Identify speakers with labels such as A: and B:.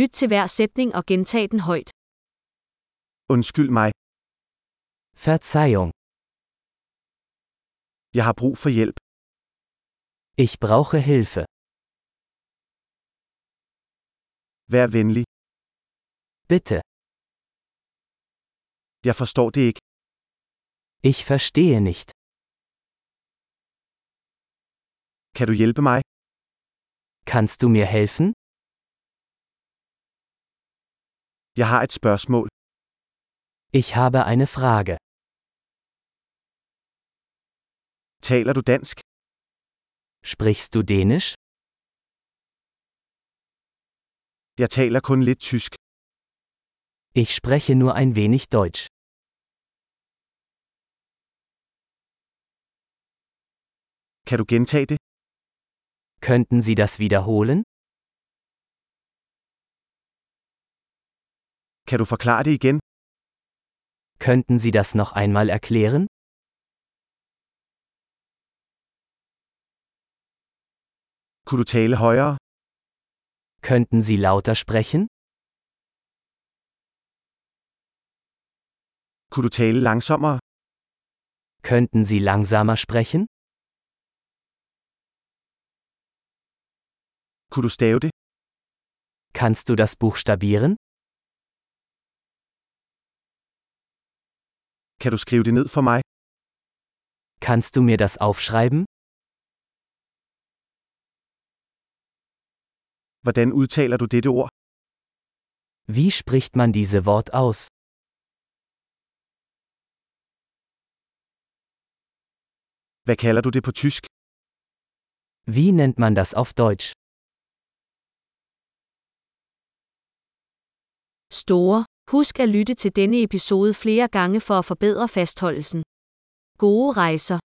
A: Lyt til hver sætning og gentag den højt.
B: Undskyld mig,
C: Verzeihung,
B: jeg har brug for hjælp.
C: ich brauche Hilfe.
B: Vær venlig.
C: Bitte,
B: Jeg forstår det ikke.
C: ich verstehe nicht.
B: Kan du hjælpe mig?
C: Kannst du mir helfen?
B: Jeg har et spørgsmål.
C: Ich habe eine Frage.
B: Taler du dansk?
C: Sprichst du Dänisch?
B: Jeg taler kun lidt tysk.
C: Ich spreche nur ein wenig Deutsch.
B: Kan du gentage det?
C: Könnten Sie das wiederholen?
B: Kan du forklare det igen?
C: Könnten Sie das noch einmal erklären?
B: Kunne du tale højere?
C: Könnten Sie lauter sprechen?
B: Kunne du tale langsommere?
C: Könnten Sie langsamer sprechen?
B: Kunne du stave det?
C: Kannst du das buchstabieren?
B: Kan du skrive det ned for mig?
C: Kannst du mir das aufschreiben?
B: Hvordan udtaler du dette ord?
C: Wie spricht man diese Wort aus?
B: Hvad kalder du det på tysk?
C: Wie nennt man das auf Deutsch?
A: Store. Husk at lytte til denne episode flere gange for at forbedre fastholdelsen. Gode rejser.